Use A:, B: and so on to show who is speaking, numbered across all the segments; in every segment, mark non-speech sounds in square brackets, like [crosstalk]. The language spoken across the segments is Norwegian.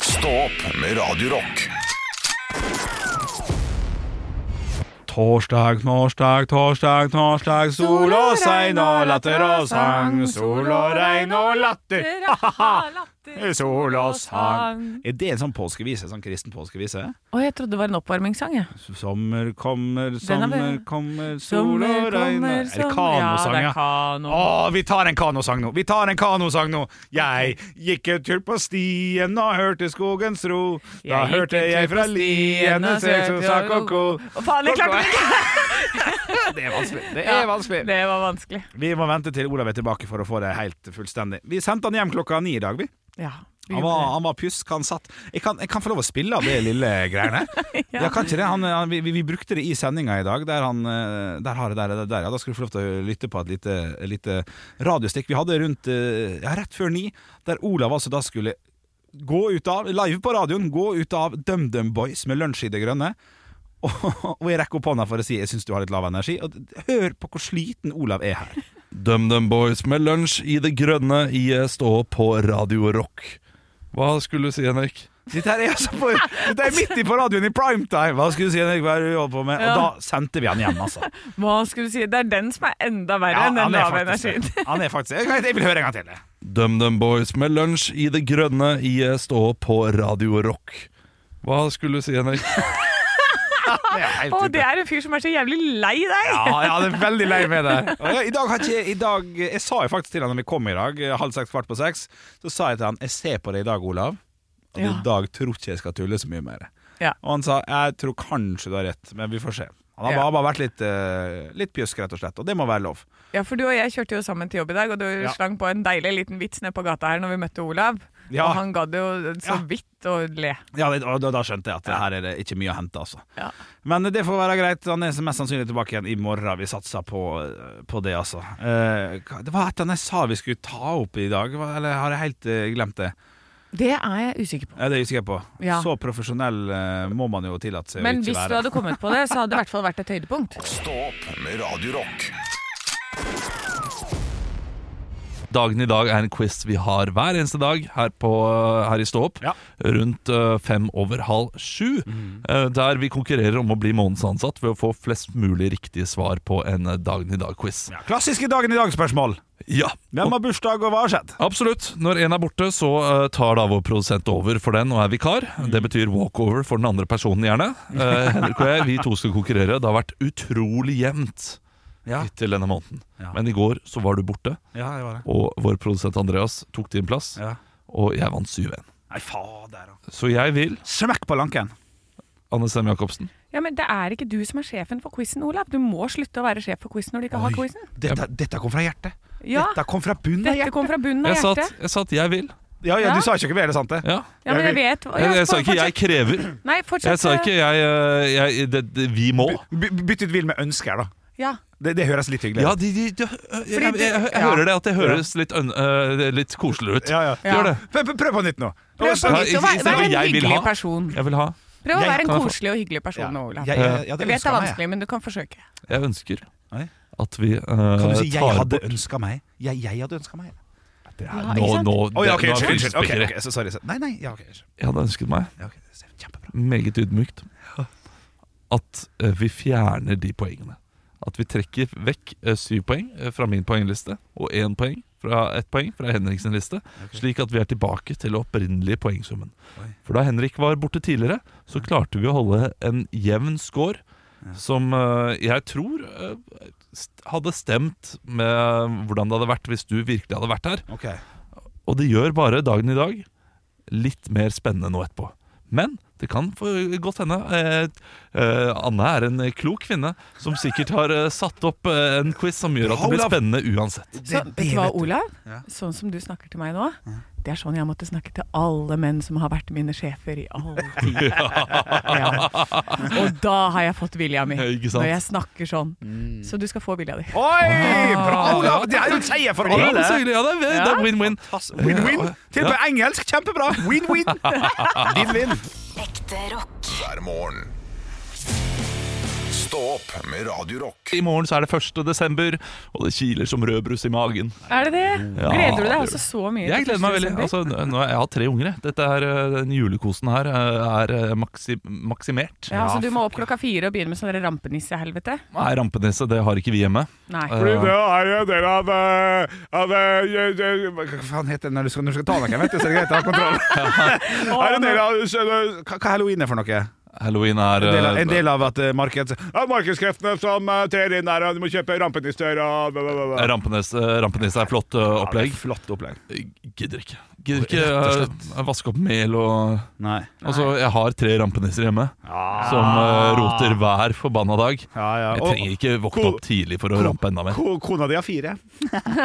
A: Stå opp med Radio Rock.
B: Torsdag, torsdag, torsdag, torsdag, sol og sein og latter og sang. Sol og regn og latter, [laughs] ha-ha-ha. Sol og sang. Er det en sånn påskevise? Sånn kristen påskevise?
C: Å, jeg trodde det var en oppvarmingssang, jeg.
B: Sommer kommer,
C: er vel-
B: sommer kommer, sol og regn og- Er det kanosang,
C: ja? Det
B: ja?
C: er kano.
B: Å, vi tar en kanosang nå! Vi tar en kanosang nå! Jeg gikk en tur på stien og hørte skogens ro. Da
C: Jeg gikk
B: hørte
C: en tur
B: jeg
C: på
B: fra
C: stien
B: liene
C: og
B: se som
C: søkte-
B: sa ko-ko.
C: Å, faen, jeg klarte det ikke!
B: Det er vanskelig. Det
C: Ja,
B: er vanskelig.
C: Det var vanskelig.
B: Vi må vente til Olav er tilbake for å få det helt fullstendig. Vi sendte han hjem klokka ni i dag, vi.
C: Ja. vi
B: Han
C: gjorde
B: var,
C: det.
B: han var pjusk, han satt jeg kan, jeg kan få lov å spille av det lille
C: [laughs]
B: greiene her. ja. kan ikke det? Han, han, vi, vi- vi brukte det i sendinga i dag. Der, han, eh, der har jeg der, der, der, ja. Da skal du få lov til å lytte på et lite, et lite radiostikk vi hadde rundt eh, ja, rett før ni, der Olav altså da skulle gå ut av, live på radioen, gå ut av DumDum Boys med lunsj i det grønne. [laughs] Og, og jeg rekker opp hånda for å si jeg syns du har litt lav energi. Og d- hør på hvor sliten Olav er her.
D: DumDum Boys med lunsj i det grønne i eh, Stå på Radio Rock. Hva skulle du si, Henrik?
B: Dette her er, altså på, dette er midt i på radioen i primetime! Hva skulle du si, Henrik? Hva er det du holder på med? Og
C: Ja.
B: da sendte vi han hjem,
C: [laughs]
B: altså.
C: Hva skulle du si? Det er den som er enda verre
B: Ja,
C: enn den lave
B: faktisk
C: energien.
B: det. Han er faktisk det. Jeg vil høre en gang til. jeg.
D: DumDum Boys med lunsj i det grønne i eh, Stå på Radio Rock. Hva skulle du si, Henrik?
B: Det er helt
C: [laughs] Å,
B: ute.
C: det er en fyr som er så jævlig lei deg!
B: Ja, ja, det er veldig lei med det. Og jeg, I dag har ikke jeg- i dag, Jeg sa jo faktisk til han når vi kom i dag, eh, halv seks, kvart på seks, så sa jeg til han Jeg ser på deg i dag, Olav, og
C: Ja.
B: i dag tror ikke jeg skal tulle så mye mer.
C: Ja.
B: Og han sa jeg tror kanskje du har rett, men vi får se. Han har
C: Ja.
B: bare, bare vært litt, eh, litt pjusk, rett og slett, og det må være lov.
C: Ja, for du og jeg kjørte jo sammen til jobb i dag, og du
B: Ja.
C: slang på en deilig liten vits nede på gata her når vi møtte Olav.
B: Ja.
C: Og han gadd jo
B: Ja.
C: så vidt å le.
B: Ja, det- og da, da skjønte jeg at det her er det ikke mye å hente, altså.
C: Ja.
B: Men det får være greit. Han er mest sannsynlig tilbake igjen i morgen. Vi satser på, på det, altså. Eh, hva- det var et eller annet jeg sa vi skulle ta opp i dag, Hva- eller har jeg helt eh, glemt det?
C: Det er jeg usikker på.
B: Ja, det er jeg usikker på.
C: Ja.
B: Så profesjonell eh, må man jo tillate seg
C: Men
B: å ikke
C: hvis du
B: være.
C: hadde kommet på det, så hadde det i hvert fall vært et høydepunkt.
A: Stå opp med Radio Rock.
D: [laughs] Dagen i dag er en quiz vi har hver eneste dag her, på, eh, her i Stå opp.
B: Ja.
D: Rundt eh, fem over halv sju. eh, der vi konkurrerer om å bli månedens ansatt ved å få flest mulig riktige svar på en eh, Dagen i dag-quiz.
B: Ja, klassiske dagen i dag-spørsmål.
D: Ja.
B: Hvem har bursdag, og hva har skjedd?
D: Absolutt. Når én er borte, så eh, tar da vår produsent over for den og er vikar. Det betyr walkover for den andre personen, gjerne. Eh, [laughs] Henrik og jeg, vi to skal konkurrere. Det har vært utrolig jevnt
B: Ja.
D: hittil denne måneden.
B: Ja.
D: Men i går så var du borte,
B: ja, det var det.
D: og vår produsent Andreas tok din plass,
B: Ja.
D: og jeg vant 7-1.
B: Nei, fader. da.
D: Så jeg vil,
B: Smekk på lanken.
D: Anne Sem Jacobsen
C: Ja, men det er ikke du som er sjefen for quizen, Olav. Du må slutte å være sjef for quizen når du ikke har
B: Oi.
C: quizen.
B: Dette, dette kom fra hjertet.
C: Ja,
B: Dette kom fra bunnen av
C: dette
B: hjertet.
C: kom fra bunnen av
D: jeg sa, at,
C: hjertet.
D: jeg sa at jeg vil.
B: Ja, ja,
C: Ja.
B: du sa ikke hva er det sant, det?
D: Ja.
C: Ja, men
B: Jeg
C: jeg vet hva-
D: Jeg,
C: ja,
D: jeg sa ikke
C: fortsett.
D: 'jeg krever'.
C: Nei, fortsett.
D: Jeg sa ikke jeg, eh, jeg, det, det, 'vi må'.
B: By, bytt ut vil med ønsker, da.
C: Ja.
B: Det, det høres litt hyggelig
D: Ja,
B: ut.
D: de, de, de, jeg, jeg, jeg,
C: Fordi
D: jeg,
C: det- ja.
D: hører det at det høres litt, øn- eh, litt koselig ut.
B: Ja, ja.
C: Ja.
D: Gjør det.
B: Prøv, prøv- prøv på nytt nå.
C: Prøv på
D: Ja,
C: nytt.
D: i-
C: og Vær,
D: istedenfor
C: vær en
D: jeg vil
C: hyggelig
D: ha.
C: person.
D: Jeg vil ha.
C: Prøv å
B: Jeg
C: være en
D: kan få-
C: koselig og hyggelig person nå, Olav.
B: Ja, ja, ja, det
C: Jeg vet det
B: ønsker
C: er
B: meg.
C: vanskelig, men du kan forsøke.
D: Jeg ønsker
B: Nei.
D: at vi eh,
B: Kan du si 'jeg
D: tar
B: hadde
D: bort
B: ønska meg'? Jeg, jeg hadde ønska meg.
C: Ja,
D: Nå,
C: ikke sant?
D: nå,
B: Å ja, ok,
D: nå er
B: unnskyld. unnskyld. Ok,
D: fyllespikkere.
B: ok, så sorry. så- Nei, nei. Ja, ok, unnskyld.
D: Jeg hadde ønsket meg,
B: Ja, ok, det er Kjempebra.
D: meget ydmykt, at eh, vi fjerner de poengene. At vi trekker vekk eh, syv poeng eh, fra min poengliste og én poeng fra ett poeng fra Henriks liste, slik at vi er tilbake til opprinnelige poengsummen.
B: Oi.
D: For da Henrik var borte tidligere, så klarte vi å holde en jevn score som eh, jeg tror eh, st- hadde stemt med hvordan det hadde vært hvis du virkelig hadde vært her.
B: Ok.
D: Og det gjør bare dagen i dag litt mer spennende nå etterpå. Men det kan få- godt hende. Eh, eh, Anne er en klok kvinne som sikkert har eh, satt opp eh, en quiz som gjør at det blir
B: Olav!
D: spennende
B: [laughs]
D: uansett.
C: Så,
B: Det-
C: vet du hva,
B: vet du.
C: Olav?
B: Ja.
C: Sånn som du snakker til meg nå, det er sånn jeg måtte snakke til alle menn som har vært mine sjefer i all tid. Ja. Og da har jeg fått vilja mi,
D: Ja, ikke sant?
C: når jeg snakker sånn. Så du skal få vilja di. Ah.
B: Oi! Bra, Olav! Det er jo en seier for
D: Ja, men så
B: alle!
D: hyggelig. Ja, det er- det er win-win.
B: Win-win. Til og med engelsk. Kjempebra. [laughs] Win-win. Vinn-vinn.
E: Ekte rock.
A: hver morgen. Stå opp med Radio Rock.
D: I morgen så er det 1. desember, og det kiler som rødbrus i magen.
C: Er det det?
D: Ja,
C: Gleder du
D: det
C: deg
D: gjør
C: altså så mye?
D: Jeg
C: til
D: gleder meg veldig.
C: 1. desember?
D: Altså, nå- nå, jeg har tre unger. jeg. Dette er, eh, den julekosen her eh, er eh, maksi, maksimert.
C: ja, så du må opp klokka fire og begynne med sånn rampenissehelvete?
D: Nei, rampenisse, det har ikke vi hjemme.
C: Nei.
D: Eh,
B: Det er jo en del av, eh, av eh, je- je- Hva faen heter det når du skal, når du skal ta noe? Vet du, så er det greit å ha kontroll. Er
C: Å,
B: det en del
C: nå-
B: av, hva- hva er halloween er for noe?
D: Halloween er
B: En del av,
D: eh,
B: en del av at eh, markeds, ja, markedskreftene som eh, trer inn der, og du må kjøpe rampenister og bla, bla, bla, bla.
D: Rampenes, eh, rampenes er flott eh, opplegg.
B: Flott opplegg.
D: Gidder ikke. Gidder ikke
B: Rett og
D: eh, vaske opp mel og
B: Nei.
D: Altså, jeg har tre rampenisser hjemme
C: Ah.
D: som eh, roter hver forbanna dag.
B: Ja, ja.
D: Jeg
B: Og-
D: trenger ikke våkne
B: Ko-
D: opp tidlig for å rampe enda mer.
B: Ko kona di har
D: [laughs]
B: fire.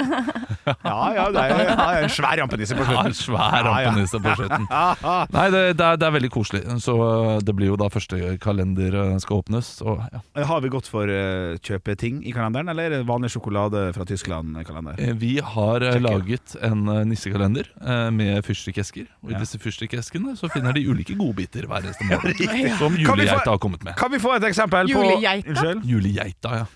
B: ja, ja, det er jo ja, en svær
D: [laughs]
B: rampenisse på
D: Jeg har
B: slutten.
D: en svær rampenisse på
B: [laughs]
D: slutten. Nei, det, det, er, det er veldig koselig. Så eh, det blir jo da første kalender eh, skal åpnes. Og, ja.
B: Har vi gått for eh, kjøpe ting i kalenderen, eller er det vanlig sjokolade fra Tyskland-kalender?
D: Eh, Vi har eh,
B: Check it.
D: laget en eh, nissekalender eh, med fyrstikkesker. Og i
B: Ja.
D: disse fyrstikkeskene så finner de ulike godbiter hver eneste
B: [laughs]
D: måned.
B: riktig.
D: Som
B: vi få-
D: julegeita har kommet med.
B: Kan vi få et eksempel på
C: Julegeita?
B: Unnskyld?
D: Julegeita, ja.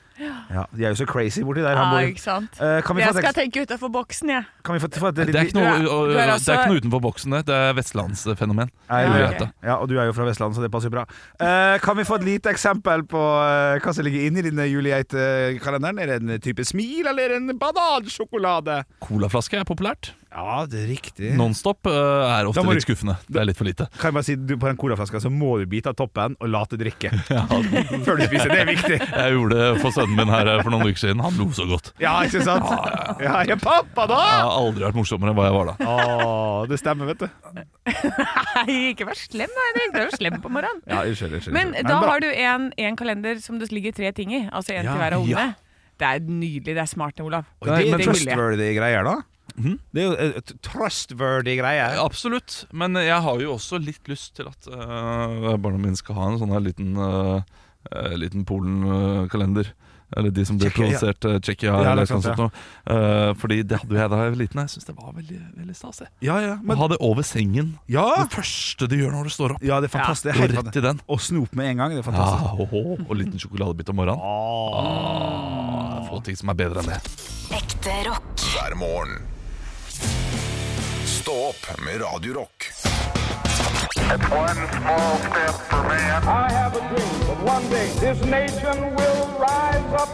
B: Ja, de er jo så crazy borti der.
C: Ja,
B: Han bor.
C: ikke sant?
B: Eh, kan vi få
C: Jeg
B: et,
C: skal
B: eks-
C: tenke utafor boksen, jeg.
B: kan vi få, få et
D: Det er ikke noe,
C: Du er-
D: og-
C: du er
D: det
C: altså-
D: er ikke noe utenfor boksen, det. Det er vestlandsfenomen.
B: Nei,
C: Ja,
B: det-
C: ok.
B: Ja, og du er jo fra Vestlandet, så det passer jo bra. Eh, kan vi få et lite eksempel på eh, hva som ligger inni denne julegeit-kalenderen? Er det en type smil, eller er det en banansjokolade?
D: Colaflaske er populært.
B: Ja, det er riktig.
D: Nonstop eh, er
B: Da
D: ofte
B: må
D: litt
B: du-
D: skuffende. Det er litt for lite.
B: Kan jeg bare si du, På den colaflaska så må du bite av toppen og late [laughs] drikke før du spiser. Det er viktig.
D: Jeg gjorde det for sønnen min her eh, for noen uker siden. Han lo så godt.
B: Ja, ikke sant? Ja, ja, pappa, da!
D: Jeg har aldri vært morsommere enn hva jeg var da.
B: Å, det stemmer, vet du.
C: Nei, [laughs] ikke vær slem, da, Henrik. Du er jo slem på morgenen.
B: Ja, unnskyld. unnskyld,
C: Men
B: unnskyld.
C: da
B: bra.
C: har du en, en kalender som det ligger tre ting i. Altså en
D: Ja,
C: til hver
D: ja.
C: av ungene. Det er nydelig. Det er smart, Olav.
B: Oi, Det er
C: det
B: jo
C: vil jeg.
B: trustworthy greier, da. Det er jo eh, t- trustworthy greier.
D: Absolutt. Men jeg har jo også litt lyst til at eh, barna mine skal ha en sånn her liten, eh, eh, liten Polen-kalender. Eller de som ble
B: Tsjekkia, ja.
D: provosert uh, Tsjekkia.
B: Ja,
D: eller
B: det er sant,
D: noe sånt noe. Eh, fordi det hadde jo jeg da jeg var liten. og Jeg syns det var veldig, veldig stas. jeg.
B: Ja, ja.
D: Å ha det over sengen.
B: ja.
D: Det første du gjør når du står opp.
B: ja, det er fantastisk. Det er
D: Gå
B: helt
D: rett i den.
B: Og snop med en gang. Det er
D: Ja,
B: fantastisk.
D: ho, ho, og liten sjokoladebit om morgenen. Ah, få ting som er bedre enn det.
E: Ekte rock.
A: hver morgen. Stå opp med Radio Rock.
F: One small step for man.
G: I have a dream that one day this nation will rise up.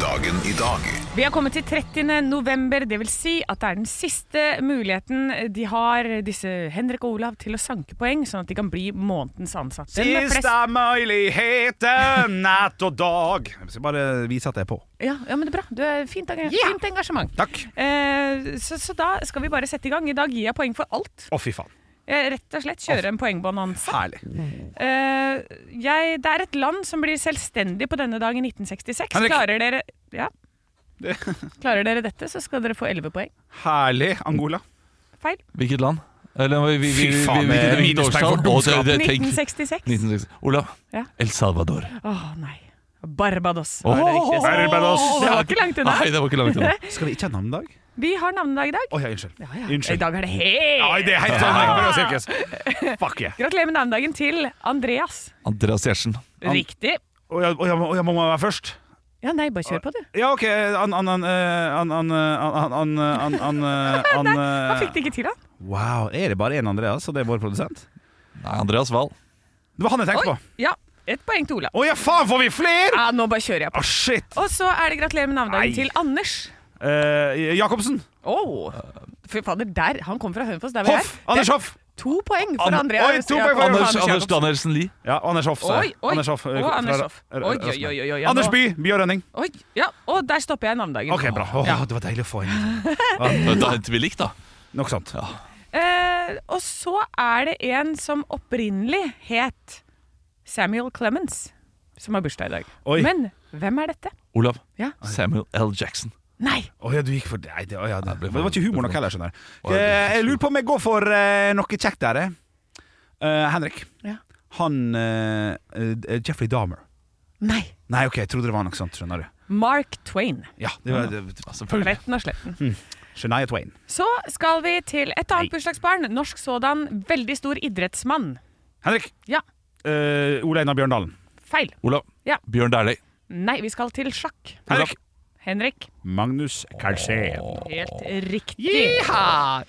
A: Dagen i dag
C: Vi har kommet til 30. november, dvs. Si at det er den siste muligheten de har, disse Henrik og Olav, til å sanke poeng, sånn at de kan bli månedens ansatte. Den med flest-
B: Siste muligheten, natt og dag. Jeg skal bare vise at jeg er på.
C: Ja, ja, men det er bra. Du er fint, enga-
B: Ja.
C: fint engasjement.
B: Takk.
C: Eh, så, så da skal vi bare sette i gang. I dag gir jeg poeng for alt.
B: Å, fy faen.
C: Jeg rett og slett kjører en poengbonanza.
B: Herlig.
C: Eh, jeg, det er et land som blir selvstendig på denne dag i 1966.
B: Henrik.
C: Klarer dere ja. Klarer dere dette, så skal dere få 11 poeng.
B: Herlig. Angola.
C: Feil.
D: Hvilket land? Eller, vi, vi, vi,
B: Fy faen,
D: vi, vi,
B: det er
D: hvilket
B: minuspoeng
D: årstall?
B: for
D: Å, det- det- tenk-
C: 1966.
D: 1960. Olav.
C: Ja.
D: El Salvador.
C: Å nei. Barbados.
D: Åh,
B: Barbados.
C: Å, det var ikke langt unna.
D: Nei, det var ikke langt
C: [laughs]
D: unna.
B: Skal vi ikke ha navnedag? Å
C: Vi har navnedag i dag.
B: ja, unnskyld.
C: Ja, ja. I
B: Unnskyld.
C: dag er det helt
B: Nei, det er helt sånn. jeg prøver å sirkus. Fuck yeah.
C: Gratulerer med navnedagen til Andreas.
D: Andreas Gjertsen.
C: Riktig.
B: Å ja, å ja, å ja, må man være først?
C: Ja, nei, bare kjør på, du.
B: Ja, OK. An... An... An... eh, An... An... An... An... An... an, eh, an
C: Han
B: eh,
C: fikk det ikke til, han.
B: Wow. Er det bare én Andreas, og det er vår produsent?
D: Nei, Andreas Wahl.
B: Det var han jeg tenkte på.
C: Ja, Ett poeng til Olav.
B: Å ja, faen, får vi flere?!
C: Ja, nå bare kjører jeg
B: Å,
C: på.
B: shit.
C: Og så er det gratulerer med
B: Nei.
C: navnedagen til Anders.
B: Eh, Jacobsen.
C: Oh. Fy fader, der, han kommer fra Hønefoss. Der vi er.
B: Hoff. Anders Hoff.
C: To poeng for
B: An-
C: Andrea.
B: Oi, to poeng for
C: Jakob-
D: Anders,
C: Anders
D: Anders
C: Jacobsen.
D: Danielsen Lie.
B: Ja, og Anders Hoff. sa jeg.
C: Oi, oi.
B: Anders Hoff. eh,
C: Og
B: fra-
C: Anders
B: fra-
C: Hoff.
B: Ra- Ra-
C: Oi, oi, oi, oi, oi, ja,
B: Anders
C: nå-
B: By, By og Rønning.
C: Oi, ja, og der stopper jeg navnedagen.
B: Ok, bra. Åh, Det var deilig å få inn
D: Det er en tvillik, da.
B: nok sånt.
C: Eh, og så er det en som opprinnelig het Samuel Clemens, som har bursdag i dag.
B: Oi.
C: Men hvem er dette?
D: Olav.
C: Ja.
D: Samuel L. Jackson.
C: Nei!
B: Å ja, du gikk for Nei, det, å, ja, det.
D: det ble-
B: Men det var ikke humor nok heller, skjønner jeg.
D: Å, ja, det-
B: Eh, Jeg lurer på om jeg går for eh, noe kjekt der. eh. Eh, Henrik.
C: Ja.
B: Han eh, eh, Jeffrey Dahmer.
C: Nei.
B: Nei, OK, jeg trodde det var noe sånt, skjønner du.
C: Mark Twain.
B: Ja, det var det,
D: Ja, selvfølgelig.
C: Retten og sletten.
B: Shania Twain.
C: Så skal vi til et annet bursdagsbarn. Norsk sådan. Veldig stor idrettsmann.
B: Henrik.
C: Ja.
B: Eh, Ole Einar Bjørndalen.
C: Feil.
D: Olav.
C: Ja.
D: Bjørn Dæhlie.
C: Nei, vi skal til sjakk.
B: Henrik.
C: Henrik.
B: Magnus Carlsen.
C: Helt riktig.
B: Jiha!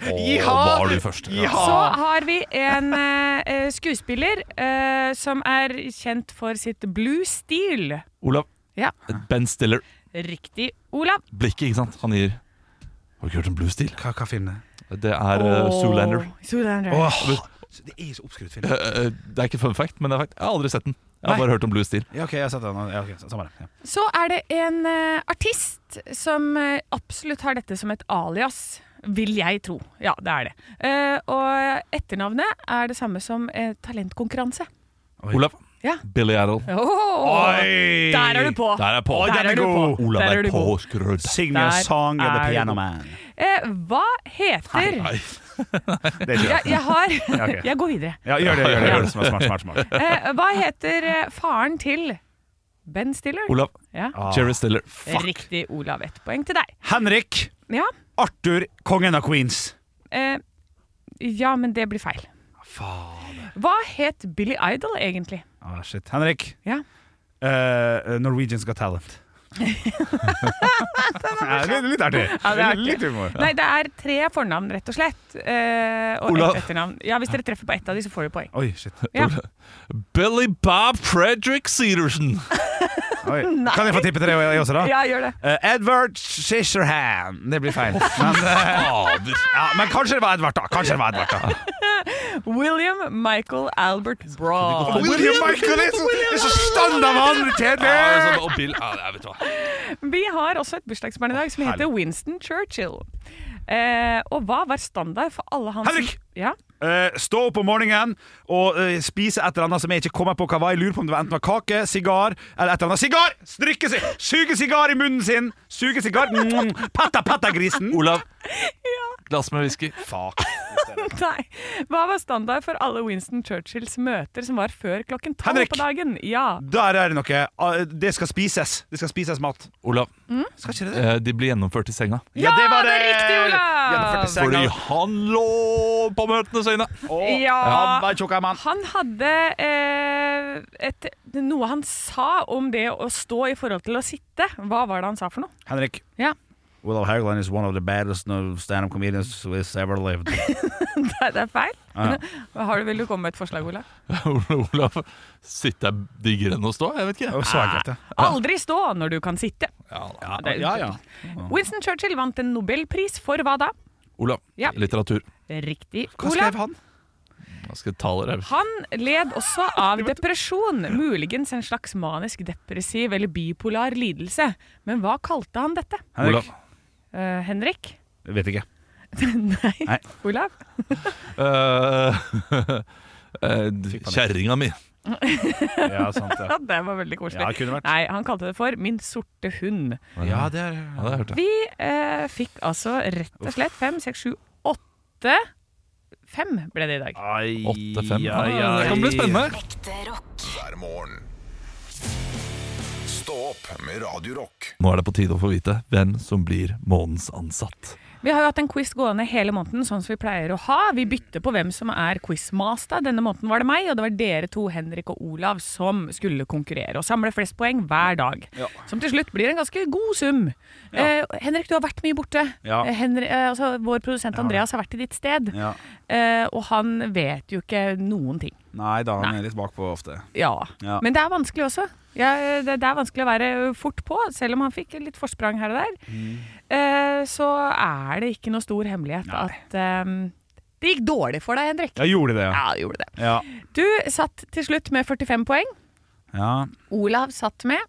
B: Var du først? Ja.
C: Så har vi en eh, eh, skuespiller eh, som er kjent for sitt blue steel.
D: Olav.
C: Ja.
D: Ben Stiller.
C: Riktig, Olav.
D: Blikket, ikke sant? Han gir Har du ikke hørt om Blue Steel?
B: Hva, hva film det er?
D: Det er uh, Zoolander.
C: Åh, Zoolander.
B: Så Det er så oppskrytt film.
D: Eh, eh, det er ikke fun fact, men det er fact. jeg har aldri sett den. Jeg har
B: Nei.
D: bare hørt om Blue Steel.
B: Ja, ok, jeg har sett den. Ja, ok, samme det. Ja.
C: Så er det en eh, artist som eh, absolutt har dette som et alias. Vil jeg tro. Ja, det er det. Eh, og etternavnet er det samme som eh, talentkonkurranse.
B: Oi.
D: Olav.
C: Ja.
D: Billy Idol.
C: Åh, Der er du på!
D: Der er på.
C: Der er du på.
D: Olav
C: Der
D: er,
C: er du
D: på.
C: god.
D: skrudd.
B: Sing me a
C: Der
B: song of
C: er
B: the
C: du
B: piano
C: god.
B: man.
C: Eh, hva heter
D: Nei.
B: Det er
C: jeg,
B: ikke det.
C: jeg har
D: [laughs]
B: ok.
C: Jeg går videre.
B: Ja, gjør det, gjør det. Gjør det. Smart, smart, smart.
C: [laughs]
B: smart.
C: Eh, hva heter eh, faren til Ben Stiller?
D: Olav.
C: Ja.
B: Ah.
D: Jerry Stiller. Fuck.
C: Riktig, Olav. Ett poeng til deg.
B: Henrik
C: Ja,
B: Arthur, kongen av Queens.
C: eh, ja men det blir feil. Hva het Billy Idol egentlig?
B: Ah, shit. Henrik.
C: Ja.
B: eh, Norwegians Got
C: [laughs]
B: Talent. ja, litt, litt artig.
C: Ja, det er artig.
B: Litt humor.
C: Nei, det er tre fornavn, rett og slett. Eh, og
D: Olav.
C: ett etternavn. Ja, Hvis dere treffer på ett av de, så får dere
B: [laughs]
C: poeng.
B: Oi, shit.
C: Ja.
D: Billy Bob Frederick Sedersen.
C: [laughs]
B: Oi. Kan jeg få tippe til det jeg også, da?
C: ja, gjør det.
B: Eh, Edward Scissorhand. Det blir feil. Men, eh,
D: [laughs] Fader.
B: ja, men kanskje det var Edvard, da. Kanskje det var Edvard, da.
C: William Michael Albert Braun.
B: William Michael det er så, det er så standardvanlig kjedelig!
D: Ja, altså, og Bill ja, jeg vet hva.
C: Vi har også et bursdagsbarn i dag som heter
B: herlig.
C: Winston Churchill. Eh, og hva var standard for alle hans
B: Henrik!
C: Ja?
B: Eh, stå opp om morgenen og eh, spise et eller annet som jeg ikke kommer på hva var. Jeg lurer på om det var enten var kake, sigar eller et eller annet. Sigar! Strykke seg! Suge sigar i munnen sin! Suge sigar! Mm, patta, patta, grisen!
D: Olav. Glass med whisky.
B: Fuck.
C: [laughs] Nei. Hva var standard for alle Winston Churchills møter som var før klokken tolv
B: Henrik!
C: på dagen? Ja.
B: Der er det noe. Ah, Det skal spises. Det skal spises mat.
D: Olav.
B: Skal ikke det det?
D: Eh, de blir gjennomført i senga.
B: Ja, det var
C: det er riktig, Olav!
B: Gjennomførte
D: Fordi
B: senga.
D: han lå på møtene sine.
B: Å, han
C: ja.
B: var tjukk, mann.
C: Han hadde eh, et, noe han sa om det å stå i forhold til å sitte. Hva var det han sa for noe?
B: Henrik.
C: Ja.
B: Olav Haugland is one of the baddest uh, stand-up comedians who's ever [laughs] lived.
C: [laughs] Nei, Det er feil.
B: Ja.
C: [laughs] Har du, vil du komme med et forslag, Olav?
D: [laughs] Olav sitter jeg diggere enn å stå? Jeg vet ikke.
B: Og så enkelt, det.
C: Aldri stå når du kan sitte.
D: Ja.
C: det er-
B: Ja, ja.
C: Winston Churchill vant en nobelpris for hva da?
D: Olav.
C: Ja.
D: Litteratur.
C: Riktig.
B: Hva skrev
C: Olav.
B: han?
D: Jeg skal tale deg.
C: Han led også av depresjon, muligens en slags manisk depressiv eller bipolar lidelse. Men hva kalte han dette?
B: Henrik?
D: Olav.
C: Eh, Henrik? [laughs]
B: Vet [laughs] ikke.
C: Nei.
B: Nei.
C: Olav?
D: Eh, [laughs] eh, Kjerringa mi.
B: Ja, sant det.
C: Ja, det var veldig koselig.
B: Ja, kunne vært.
C: Nei, han kalte det for 'Min sorte hund'.
B: Ja, det
D: Ja,
B: er
D: det har jeg hørt. ja.
C: Vi eh, fikk altså rett og slett fem, seks, sju, åtte Fem ble det i dag.
B: Ai,
D: Åtte-fem.
B: ai, ai.
D: Det kan bli spennende.
A: hver morgen. Stå opp med Radio Rock.
D: Nå er det på tide å få vite hvem som blir månedens ansatt.
C: Vi har jo hatt en quiz gående hele måneden, sånn som vi pleier å ha. Vi bytter på hvem som er quizmaster. Denne måneden var det meg, og det var dere to, Henrik og Olav, som skulle konkurrere og samle flest poeng hver dag. Som til slutt blir en ganske god sum. Eh, Henrik, du har vært mye borte.
B: Ja.
C: Eh, Henri- eh, altså, vår produsent Andreas har vært i ditt sted,
B: Ja.
C: eh, og han vet jo ikke noen ting.
B: Nei da, han er litt bakpå ofte.
C: Ja.
B: Ja.
C: Men det er vanskelig også. Ja, det, det er vanskelig å være fort på, selv om han fikk litt forsprang her og der.
D: Mm.
C: Eh, så er det ikke noe stor hemmelighet at eh, det gikk dårlig for deg, Henrik.
B: Jeg gjorde det,
C: Ja, det gjorde det.
B: Ja.
C: Du satt til slutt med 45 poeng.
B: ja.
C: Olav satt med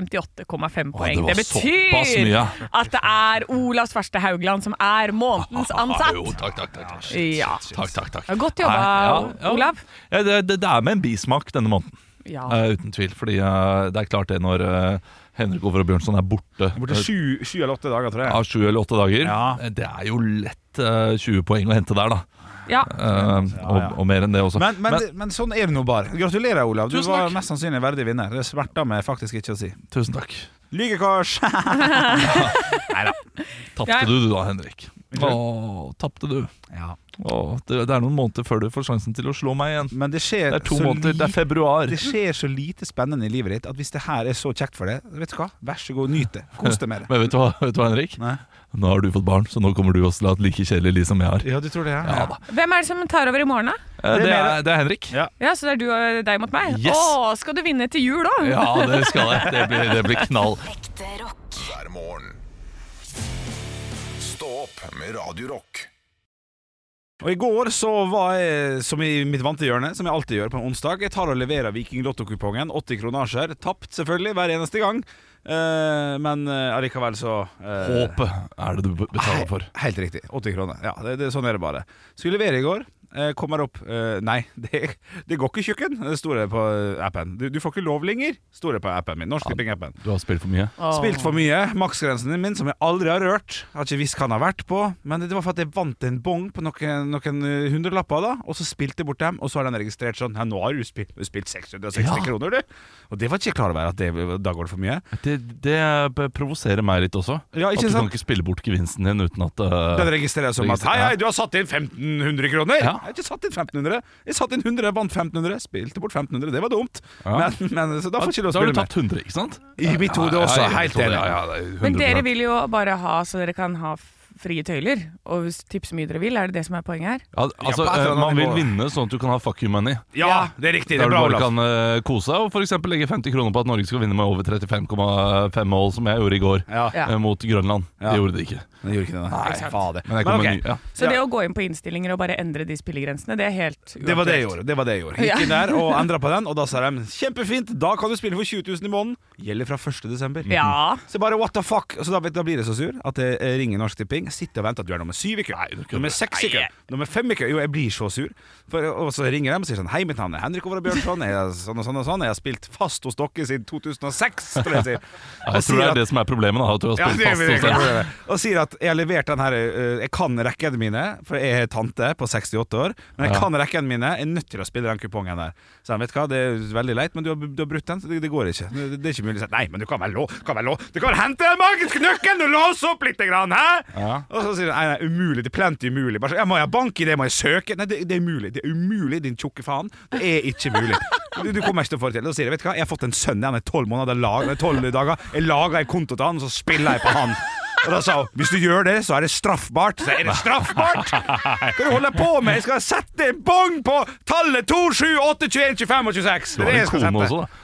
C: 58,5 poeng.
D: var
C: Det,
D: såpass
C: betyr
D: mye.
C: at det er Olavs verste Haugland som er
D: [laughs]
C: månedens ansatt.
D: Jo, takk, takk, takk. takk.
C: Ja.
D: Takk, takk, takk.
C: Godt jobba,
D: Nei, ja, ja.
C: Olav.
D: Ja, det, det, det er med en bismak denne måneden,
B: Ah.
C: Ja.
D: eh, uten tvil. Fordi eh, det er klart det når eh, Henrik Over og Bjørnson er borte
B: Borte
D: eh,
B: sju, sju eller åtte dager, tror jeg.
D: av sju eller åtte dager,
B: Ja.
D: eh, det er jo lett eh, 20 poeng å hente der, da.
C: ja.
D: Eh,
B: ja.
D: Og, og mer enn det også.
B: Men, men, men, sånn er det nå bare. Gratulerer, Olav. Du
D: Tusen
B: var
D: takk.
B: mest sannsynlig en verdig vinner. Det smerter meg faktisk ikke å si.
D: tusen takk.
B: [laughs] Lygekors!
D: Tapte
C: Jeg-
D: du, du da, Henrik? Å, tapte du.
B: Ja.
D: Å, det, det er noen måneder før du får sjansen til å slå meg igjen.
B: Men det skjer,
D: Det er to
B: så
D: måneder, det er
B: lite-
D: februar.
B: det skjer så lite spennende i livet ditt at hvis det her er så kjekt for deg, vet du hva, vær så god, nyt det. Kos deg [laughs] med det.
D: Men vet du hva, vet du hva Henrik?
B: Nei.
D: Nå har du fått barn, så nå kommer du også til å ha et like kjedelig liv som jeg har.
B: Ja, du tror det? Ja,
D: Ja
B: ja.
D: da.
C: Hvem er det som tar over i morgen, da?
D: Eh,
B: Det
D: Det
B: er
D: er, det er Henrik.
B: Ja.
C: Ja, Så det er du og deg mot meg?
D: Yes.
C: Å, skal du vinne til jul òg?
D: Ja, det skal jeg. Det blir, det blir knall.
E: Ekte rock.
A: hver morgen. Stå opp med Radio Rock.
B: Og i går så var jeg, som i mitt vante hjørne, som jeg alltid gjør på en onsdag Jeg tar og leverer Vikinglotto-kupongen. 80 kronasjer. Tapt, selvfølgelig, hver eneste gang. Eh, men eh, allikevel så eh,
D: Håpet er det du betaler for.
B: He- Helt riktig. 80 kroner. Ja, det, det, sånn er det bare. Skulle levere i går. eh, Kommer opp eh, Nei, [laughs] det, det går ikke, tjukken, står det på eh, appen. Du, du får ikke lov lenger, står det på appen min. Norsk Tipping-appen.
D: Du har spilt for mye.
B: Spilt for mye. Maksgrensen min, som jeg aldri har rørt. Har ikke visst hva den har vært på. Men det var for at jeg vant en bong på noen, noen eh, hundrelapper, da. Og så spilte jeg bort dem, og så har den registrert sånn. Ja, nå har du spilt, du har spilt 660
D: Ja.
B: kroner, du. Og det var ikke jeg klar over, at det, da går det for mye.
D: Det, det provoserer meg litt også.
B: Ja, ikke
D: at du
B: sant?
D: kan ikke spille bort gevinsten din uten at
B: Den
D: eh,
B: registrerer jeg som at
D: Registrer-
B: Hei,
D: ja.
B: hei, du har satt inn 1500 kroner!
D: Ja.
B: Jeg har ikke satt inn 1500. Jeg satt inn 100, vant 1500, spilte bort 1500. Det var dumt.
D: Ja.
B: Men, men så da får jeg ikke lov
D: Da
B: å
D: har du
B: spille mer.
D: tapt 100, ikke sant?
B: I mitt hode
D: Ja,
B: også.
D: ja, i mitt
B: Helt
D: hode,
B: enig.
D: ja, ja, det er
C: Men dere
D: 100%.
C: vil jo bare ha så dere kan ha f- frie tøyler, og s- tipse mye dere vil. Er det det som er poenget her?
D: ja, altså,
B: Ja, på et eller
D: eh,
B: annet
D: Man vil
B: nivå.
D: vinne sånn at du kan ha fuck you money.
B: Ja, det er riktig.
D: Der
B: Det er
D: du
B: bra,
D: bare
B: Olav.
D: kan eh, kose deg og f.eks. legge 50 kroner på at Norge skal vinne med over 35,5 mål, som jeg gjorde i går,
B: Ja.
C: Ja.
D: eh, mot Grønland.
B: Ja.
D: Det gjorde de ikke.
B: Men jeg gjorde ikke det. Nei, fader.
D: Men jeg kom
B: ok.
D: med en ny. Ja.
C: Så det å gå inn på innstillinger og bare endre de spillegrensene, det er helt
B: Det var det jeg gjorde. det var det jeg gjorde Gikk inn
D: [laughs]
B: der og endra på den, og da sa de 'kjempefint, da kan du spille for 20 000 i måneden'. Gjelder fra 1. desember.
C: Ja.
B: Så jeg bare what the fuck Så da, da blir jeg så sur at jeg eh, ringer Norsk Tipping. Sitter og venter at du er nummer syv i kø. Nummer seks i kø. Nummer fem i kø. Jo, jeg blir så sur. For, og så ringer de og sier sånn Hei, mitt navn er Henrik Over Bjørnson. Jeg er sånn og sånn og sånn. Jeg har spilt fast hos dere siden 2006. Tror jeg jeg sier.
D: [laughs] Ja,
B: Og
D: Jeg tror det
B: sier
D: er det som er problemet, da, at du har
B: ja,
D: spilt
B: det er
D: fast hos
B: virkelig.
D: dem.
B: Og sier at jeg har levert den her eh, Jeg kan rekkene mine, for jeg er tante på 68 år. Men jeg
D: Ja.
B: kan rekkene mine, jeg er nødt til å spille den kupongen der. Så han vet du hva, det er veldig leit, men du har, du har brutt den, så det, det går ikke. Det, det er ikke mulig. Så, Nei, men du kan vel lå, kan vel lå. Du kan vel hente den magiske nøkkelen og låse opp litt, grann, hæ?
D: Ja.
B: Og så sier han nei, nei, umulig, det er plenty umulig. Bare, så, ja, må jeg banke i det, må jeg søke? Nei, det, det er umulig, det er umulig, din tjukke faen. Det er ikke mulig. Du, du kommer ikke til å få det til. Og sier jeg, vet du hva, jeg har fått en sønn, han er tolv måneder, lag, nei, 12 dager. Jeg lager en konto til han, og så spiller jeg på han. Og da sa hun hvis du gjør det, så er det straffbart. Så jeg, er det straffbart? Hva er det du holder på med? Jeg skal sette en bong på tallet 2, 7, 8, 21, 25 og 26.
D: Du har
B: Det er det
D: en
B: jeg skal
D: kone
B: sette.
D: også, da.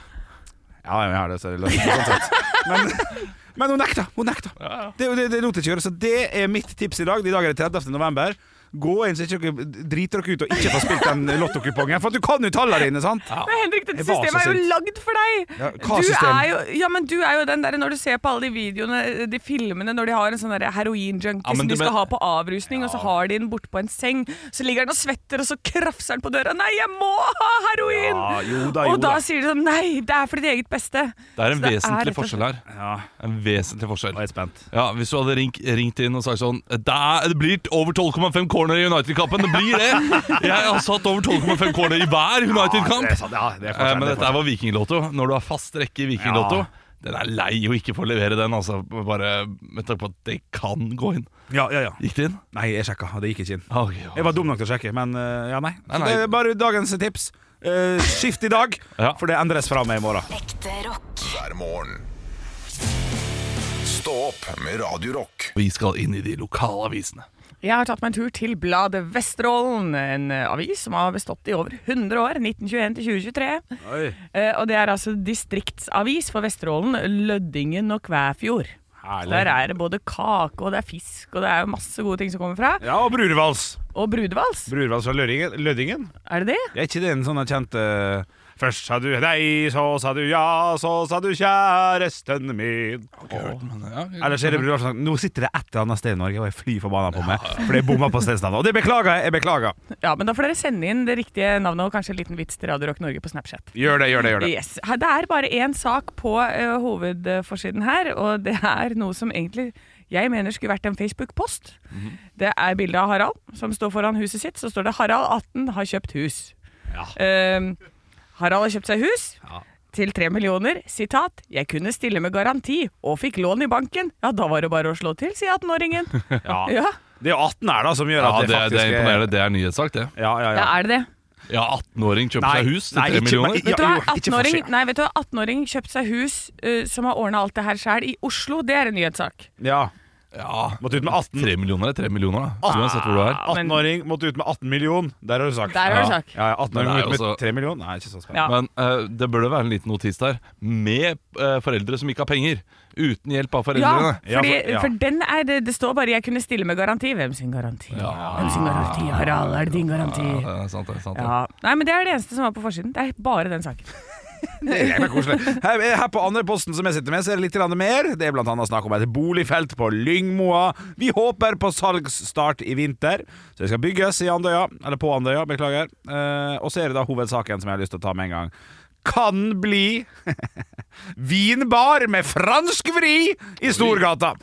B: Ja, jeg har det, så det løser seg sånn sett. Men, men hun nekta. Hun nekta. Det, det, det lot jeg ikke gjøre. Så det er mitt tips i dag. I dag er det 30. november. Gå inn, så ikke dere driter dere ut og ikke får spilt den lottokupongen. For at du kan jo tallene dine, sant?
C: Men Henrik, dette
B: Jeg var så
C: systemet er jo
B: sint.
C: lagd for deg!
B: Ja, hva
C: du,
B: system?
C: er jo, ja, men du er jo den der når du ser på alle de videoene, de filmene, når de har en sånn der heroinjunkie
D: Ja, men
C: som
D: du
C: de skal
D: men-
C: ha på avrusning, og så har de den bortpå en seng. Så ligger den og svetter, og så krafser den på døra. 'Nei, jeg må ha heroin!'
B: Ja, jo da, jo
C: og da
B: da.
C: sier de sånn 'Nei, det er for ditt eget beste'.
D: Det er en
C: Så det er rett
D: vesentlig
C: og slett-
D: forskjell her.
B: Ja,
D: En vesentlig forskjell.
B: nå er jeg spent.
D: Ja, Hvis du hadde ringt, ringt inn og sagt sånn Det, er, det blir over 12,5 corner i United-kampen! Det blir det!
B: [laughs]
D: Jeg har satt over 12,5 corner i hver
B: Ja, det er
D: United-kamp!
B: sant, ja, det er
D: Eh,
B: forskjell,
D: Men
B: det er
D: dette her var vikinglotto. Når du har fast rekke i vikinglotto Den er lei å ikke få levere den, altså. Bare med tanke på at det kan gå inn.
B: forskjell. Ja, ja, ja.
D: Gikk det inn?
B: Nei, jeg sjekka, og det gikk ikke inn.
D: Ah, ok, ja.
B: Jeg var dum nok til å sjekke, men eh, ja, nei.
D: Nei,
B: Så
D: nei.
B: det er bare dagens tips. Eh, skift i dag,
D: [laughs] Ja.
B: for det endres fra meg i morgen.
E: Ekte rock.
A: hver morgen. Stå opp med Radio Rock.
D: Vi skal inn i de lokale avisene.
C: Jeg har tatt meg en tur til bladet Vesterålen, en eh, avis som har bestått i over 100 år, 1921 til 2023.
B: Oi.
C: Eh, Og det er altså distriktsavis for Vesterålen, Lødingen og Kvæfjord. Så Der er det både kake, og det er fisk, og det er masse gode ting som kommer fra.
B: Ja, og Brurvals.
C: Og brudevals,
B: Brurvals fra Løringen- Lødingen.
C: er det det?
B: Det er ikke det en sånn kjent eh, Først sa du nei, så sa du ja, så sa du kjæresten min. Eller så er det bror som sier, Nå sitter det et eller annet sted i Norge, og jeg flyr forbanna på meg. For jeg bomma på stedsnavnet. Og det beklager jeg! jeg beklager
C: Ja, men da får dere sende inn det riktige navnet og kanskje en liten vits til Radio Rock Norge på Snapchat.
B: Gjør det, gjør det. gjør det
C: Yes. Her- Det er bare én sak på eh, hovedforsiden her, og det er noe som egentlig jeg mener skulle vært en Facebook-post.
B: Mhm.
C: Det er bilde av Harald som står foran huset sitt. Så står det 'Harald 18 har kjøpt hus'.
B: Ja.
C: Ehm, Harald har kjøpt seg hus.
B: Ja.
C: Til tre millioner, sitat 'Jeg
B: [laughs]
C: kunne stille med garanti og fikk lån i banken'. Ja, da var det bare å slå til, sier 18-åringen.
B: Ja.
C: Ja.
B: Det er jo 18 her da som gjør
D: Ja,
B: at
D: det,
B: det
D: er-
B: faktisk eh,
D: det er imponerende.
B: er-
D: Det er nyhetssak, det.
B: Ja, ja,
C: Ja,
B: ja.
C: er det det?
D: Ja, 18-åring kjøper
B: Nei,
D: seg hus til
B: nei,
D: 3
B: ikke-
D: millioner.
B: Ja,
C: Vet du
B: jo,
C: hva,
B: ikke
C: 18-åring
B: forskjell.
C: Nei, vet du hva, 18-åring kjøpte seg hus eh, som har ordna alt det her sjæl i Oslo. Det er en nyhetssak.
B: ja.
D: Ja,
B: Måtte ut med Ah. 18
D: 3 millioner er 3 millioner, da. Uansett hvor du er.
B: 18-åring måtte ut med 18 million Der har du sagt
C: Ah, Der har du sagt.
B: Ja, ja 18-åring
D: Men det er
B: må ut
D: også-
B: med 3 million Nei, ikke så spennende
C: Ja.
D: Men eh, det burde være en liten notis der. Med eh, foreldre som ikke har penger. Uten hjelp av
C: Ja,
D: foreldrene.
B: Ja,
C: fordi,
B: for- ja.
C: for den er det Det står bare 'jeg kunne stille med garanti'. Hvem sin garanti? Hvem sin garanti? Harald, er det din garanti?
D: det er sant, det er sant.
C: Ja. Nei, men Det er det eneste som var på forsiden. Det er bare den saken.
B: Det er koselig her, her på andre posten som jeg sitter med Så er det litt grann mer Det er blant annet snakk om et boligfelt på Lyngmoa Vi håper på salgsstart i vinter Så det skal bygges i Andøya Eller på Andøya, beklager Eh, Og så er det da hovedsaken som jeg har lyst til å ta med en gang Kan bli [laughs] Vinbar med fransk vri I Storgata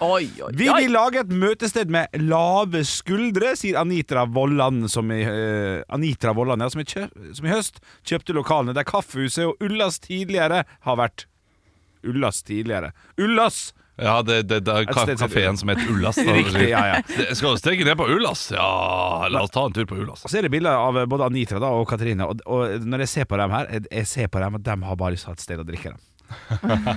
B: Vi vil lage et møtested med lave skuldre, sier Anitra Vollan, som i, eh, Anitra Vollan ja, som, i kjø, som i høst kjøpte lokalene der Kaffehuset og Ullas tidligere har vært. Ullas tidligere. Ullas!
D: Ja, det, det, det er ka
B: sted-
D: kafeen som heter Ullas. da.
B: Riktig, ja, ja.
D: Det- Skal du steke ned på Ullas? Ja, la oss ta en tur på Ullas.
B: Så er det bilder av eh, både Anitra da og Katrine, og, og når jeg ser på dem her jeg- Jeg ser på dem at de har bare lyst til å ha et sted å
D: [laughs]
B: drikke dem.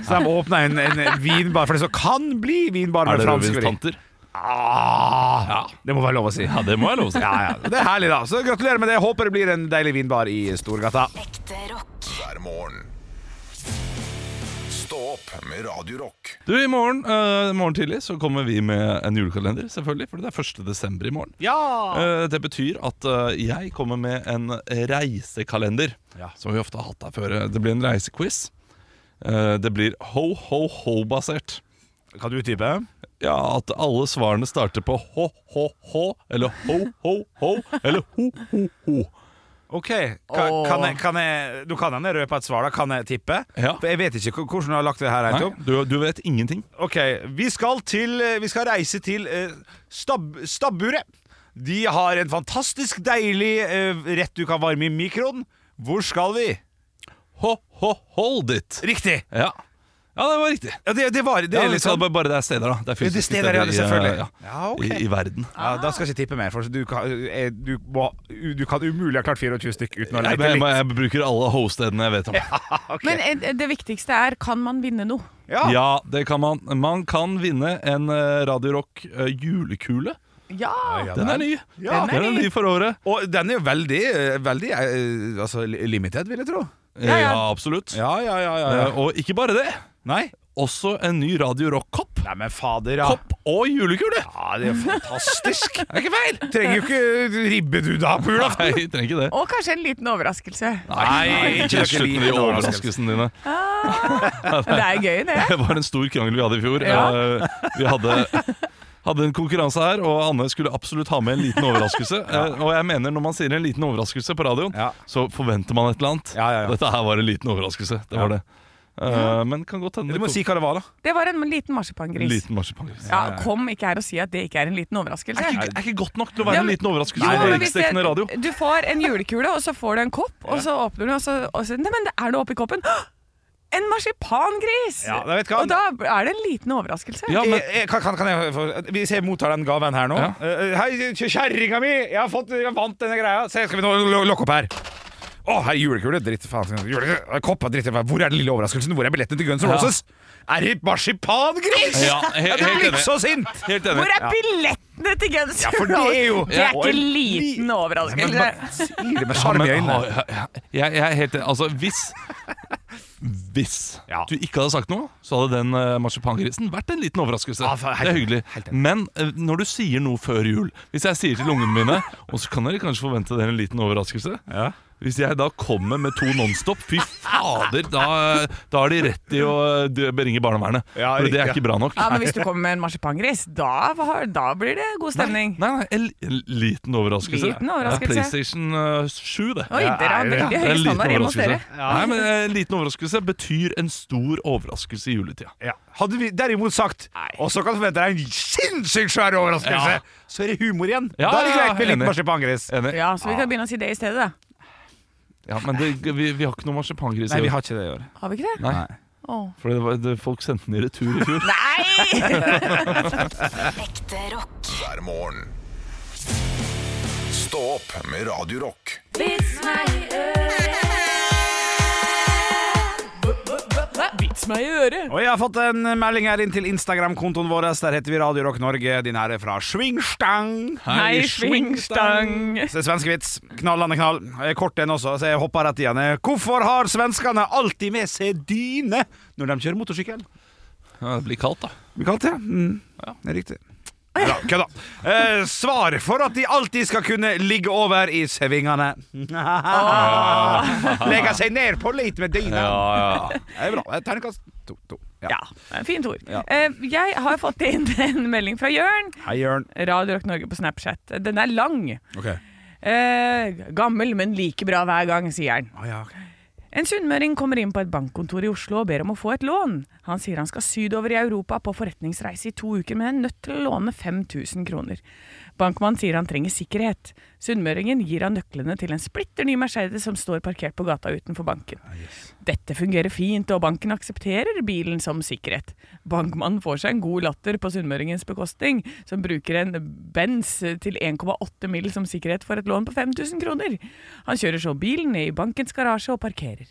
B: Så de åpner en, en vinbar, for det så kan bli vinbar
D: Er
B: med
D: det
B: fransk
D: Rødvins
B: vri.
D: tanter?
B: Ah,
D: Ja.
B: Det må være lov å si.
D: Ja, det må jeg love å si.
B: [laughs] Ja, ja. Det er herlig, da. Så gratulerer med det. Håper det blir en deilig vinbar i Storgata.
E: Ekte rock.
A: hver morgen. Stå opp med Radio Rock.
D: Du, i morgen, eh, morgen tidlig så kommer vi med en julekalender, selvfølgelig. For det er 1. desember i morgen. Eh, det betyr at eh, jeg kommer med en reisekalender,
B: Ja.
D: som vi ofte har hatt her før. Eh, Det blir en reisequiz. Eh, det blir ho-ho-ho-basert.
B: Kan du utdype?
D: Ja, at alle svarene starter på ho-ho-ho, eller ho-ho-ho, eller ho-ho-ho.
B: OK. Ka, kan jeg, kan jeg, du kan hende røpe et svar, da. Kan jeg tippe?
D: Ja.
B: For jeg vet ikke hvor- hvordan du har lagt det her.
D: Nei,
B: Nei.
D: du, du vet ingenting.
B: OK. Vi skal, til, eh, vi skal reise til eh, stab, stabburet. De har en fantastisk deilig eh, rett du kan varme i mikroen. Hvor skal vi?
D: Ho-ho-hold it.
B: Riktig!
D: Ja. ja, det var riktig.
B: Ja, det, det var det.
D: Ja,
B: Er
D: vi
B: litt
D: skal
B: sånn.
D: bare, bare det er steder, da. Det er
B: Ja, Det
D: fysiske
B: stedet er ja, det, selvfølgelig.
D: Ja, ja.
B: Ja, ok.
D: I, I verden.
B: Ja, da skal jeg ikke tippe mer, for du kan, eh, du må, du kan umulig ha klart 24 stykk uten å
D: Jeg,
B: lete
D: jeg,
B: litt.
D: jeg bruker alle ho-stedene jeg vet om. Ja.
C: Men eh, det viktigste er kan man vinne noe?
B: Ja.
D: det kan man. Man kan vinne en eh, Radio Rock eh, julekule.
C: Ja!
D: Den er ny.
B: Ja,
D: den er ny for året.
B: Og den er jo veldig, eh, veldig eh, altså, li- limited, vil jeg tro.
D: Eh,
C: ja.
D: ja absolutt.
B: Ja, ja, ja.
D: Eh, og ikke bare det.
B: Nei?
D: Også en ny Radio Rock-kopp.
B: Nei, men fader, ja.
D: Kopp og julekule!
B: Ja, det er jo fantastisk. [laughs] det er ikke feil. Trenger jo ikke ribbe du da på julaften.
D: Nei, jeg trenger ikke det.
C: Og kanskje en liten overraskelse.
B: Nei, ikke
D: slutt med de
B: liten
D: overraskelsene dine.
C: Det er gøy, det.
D: Det var en stor krangel vi hadde i fjor.
C: Ja.
D: Eh, Vi hadde, hadde en konkurranse her, og Anne skulle absolutt ha med en liten overraskelse. Eh, Og jeg mener, når man sier en liten overraskelse på radioen,
B: Ja.
D: så forventer man et eller annet.
B: Ja, ja, ja.
D: Dette her var en liten overraskelse. Det
B: Ja.
D: var det. Eh, Men kan godt hende
B: Du må si hva det var, da.
C: Det var en liten
D: en
C: marsipangris.
D: liten marsipangris.
C: Ja, kom ikke her og si at det ikke er en liten overraskelse.
D: Er, ikke- er ikke godt nok til å være
C: Ja,
D: en
C: men-
D: liten overraskelse
C: Jo,
D: på
C: men hvis det-
D: riksdekkende radio.
C: Du får en julekule, og så får du en kopp, og så åpner du, og så, og så Nei, men det er noe oppi koppen. Hå! En marsipangris!
B: Ja, jeg vet hva.
C: og da er det en liten overraskelse.
D: Ja, men
B: Jeg, jeg, Eh, kan, kan- kan jeg få Hvis jeg mottar den gaven her nå
D: Ja.
B: Eh, Hei, kj- kjerringa mi! Jeg har fått, jeg vant denne greia. Se, skal vi nå lo- lokke opp her. Å, her er julekule. Dritt faen. Julekule. eh, Kopp, dritt, hvor er den lille overraskelsen? Hvor er billetten til Guns N'
D: Ja.
B: Roses? Er det marsipangris?!
D: Ja, he-
B: jeg
D: helt
B: blir
D: enig.
B: så sint!
D: Helt enig.
C: Hvor er billettene til Guns
B: Ja, for det er jo-
C: Det er
B: Ja, og
C: ikke
B: en
C: en liten
B: Men
C: overraskelse.
B: man sier det med
D: Ja,
B: sjarm i
D: men,
B: øynene.
D: ha- ha- jeg, jeg er helt enig. Altså, hvis
B: [laughs]
D: Hvis
B: Ja.
D: du ikke hadde sagt noe, så hadde den eh, marsipangrisen vært en liten overraskelse.
B: Ja, for-
D: det
B: helt
D: er
B: enig.
D: hyggelig.
B: Helt enig.
D: Men eh, når du sier noe før jul Hvis jeg sier til ungene mine Og så kan dere kanskje forvente dere en liten overraskelse.
B: Ja.
D: Hvis jeg da kommer med to Nonstop, fy fader, da, da har de rett i å eh, beringe barnevernet.
B: Ja,
D: For det er
B: riktig,
D: ikke bra nok.
C: Ja, men hvis du kommer med en marsipangris, da, har- da blir det god stemning.
D: Nei, nei, en l- liten overraskelse.
C: Liten overraskelse.
D: Det er PlayStation eh, 7, det.
C: Oi, dere har
B: det er-
C: veldig
D: Det er
C: høye
D: en liten
C: standarder hjemme hos dere.
D: overraskelse. Nei, men eh, En liten overraskelse betyr en stor overraskelse i juletida.
B: Ja. Hadde vi derimot sagt Og så kan du forvente deg en sinnssykt svær overraskelse,
D: Ja.
B: så er det humor igjen.
D: Ja,
B: da er det
D: ja,
B: greit med litt
D: enig.
B: marsipangris.
D: Enig? Ja.
C: Ja, Så vi kan begynne å si det i stedet, da.
D: men det, vi, vi har ikke noe marsipangris i
B: Nei, vi
D: år.
B: har ikke det i år.
C: Har vi ikke det?
D: Nei.
C: Åh.
D: For det var, det, folk sendte den i retur i fjor.
C: Nei!
E: Ekte rock.
A: hver morgen. Stå opp med Radio Rock.
E: Vits meg i øret.
C: Vits meg i øret!
B: Og jeg har fått en melding her inn til Instagram-kontoen vår. Der heter vi Radio Rock Norge. Din her er fra Svingstang.
C: Hei, svingstang!
B: Så det er Svenskevits. Knallende knall. Eh, Kort en også, så jeg hopper rett i den. Eh, Hvorfor har svenskene alltid med seg dyne når de kjører motorsykkel?
D: Ja, det blir [laughs] kaldt, da.
B: Vi kalte det. Mm. Det er riktig. Bra, kødda. Eh, svar for at de alltid skal kunne ligge over i svingene. [laughs] Legge seg ned på litt med dyna.
D: Ah. ja.
B: Det er bra. Eh, Terningkast to. to.
C: Ja, fint ord.
B: Ja.
C: Eh, jeg har fått inn [laughs] en melding fra Jørn.
B: Hei, Jørn.
C: Radio Rock Norge på Snapchat. Den er lang.
B: Okay.
C: Eh, gammel, men like bra hver gang, sier han.
B: Ah, ja, ok.
C: En sunnmøring kommer inn på et bankkontor i Oslo og ber om å få et lån. Han sier han skal sydover i Europa på forretningsreise i to uker, men er nødt til å låne 5000 kroner. Bankmannen sier han trenger sikkerhet. Sunnmøringen gir han nøklene til en splitter ny Mercedes som står parkert på gata utenfor banken. Dette fungerer fint, og banken aksepterer bilen som sikkerhet. Bankmannen får seg en god latter på sunnmøringens bekostning, som bruker en Benz til 1,8 mil som sikkerhet for et lån på 5000 kroner. Han kjører så bilen ned i bankens garasje og parkerer.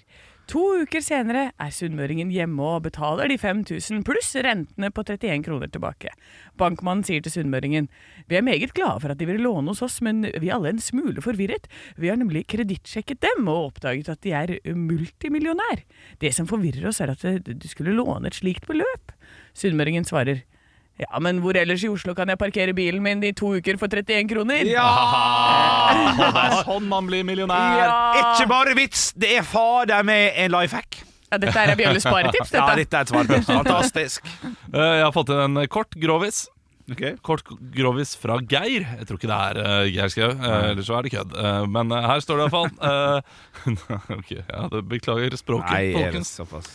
C: To uker senere er sunnmøringen hjemme og betaler de 5000 pluss rentene på 31 kroner tilbake. Bankmannen sier til sunnmøringen Vi er meget glade for at de vil låne hos oss, men vi er alle en smule forvirret. Vi har nemlig kredittsjekket dem og oppdaget at de er multimillionær. Det som forvirrer oss, er at eh, du skulle låne et slikt beløp. Sunnmøringen svarer Ja, men hvor ellers i Oslo kan jeg parkere bilen min i to uker for 31 kroner?
B: Ja!
D: Det er sånn man blir millionær.
B: Ikke bare vits, det er fader med en life hack.
C: Ja, dette er Bjølle sparetips, dette.
B: Ja, dette er et svar.
D: [laughs]
B: Fantastisk.
D: Eh, Jeg har fått inn en eh, kort grovis.
B: Ok.
D: Kort grovis fra Geir. Jeg tror ikke det er eh, Geir Skau, eh, ellers så er det kødd. Eh, Men eh, her står det iallfall eh, [laughs] Ok, ja, det beklager språket, folkens.
B: såpass?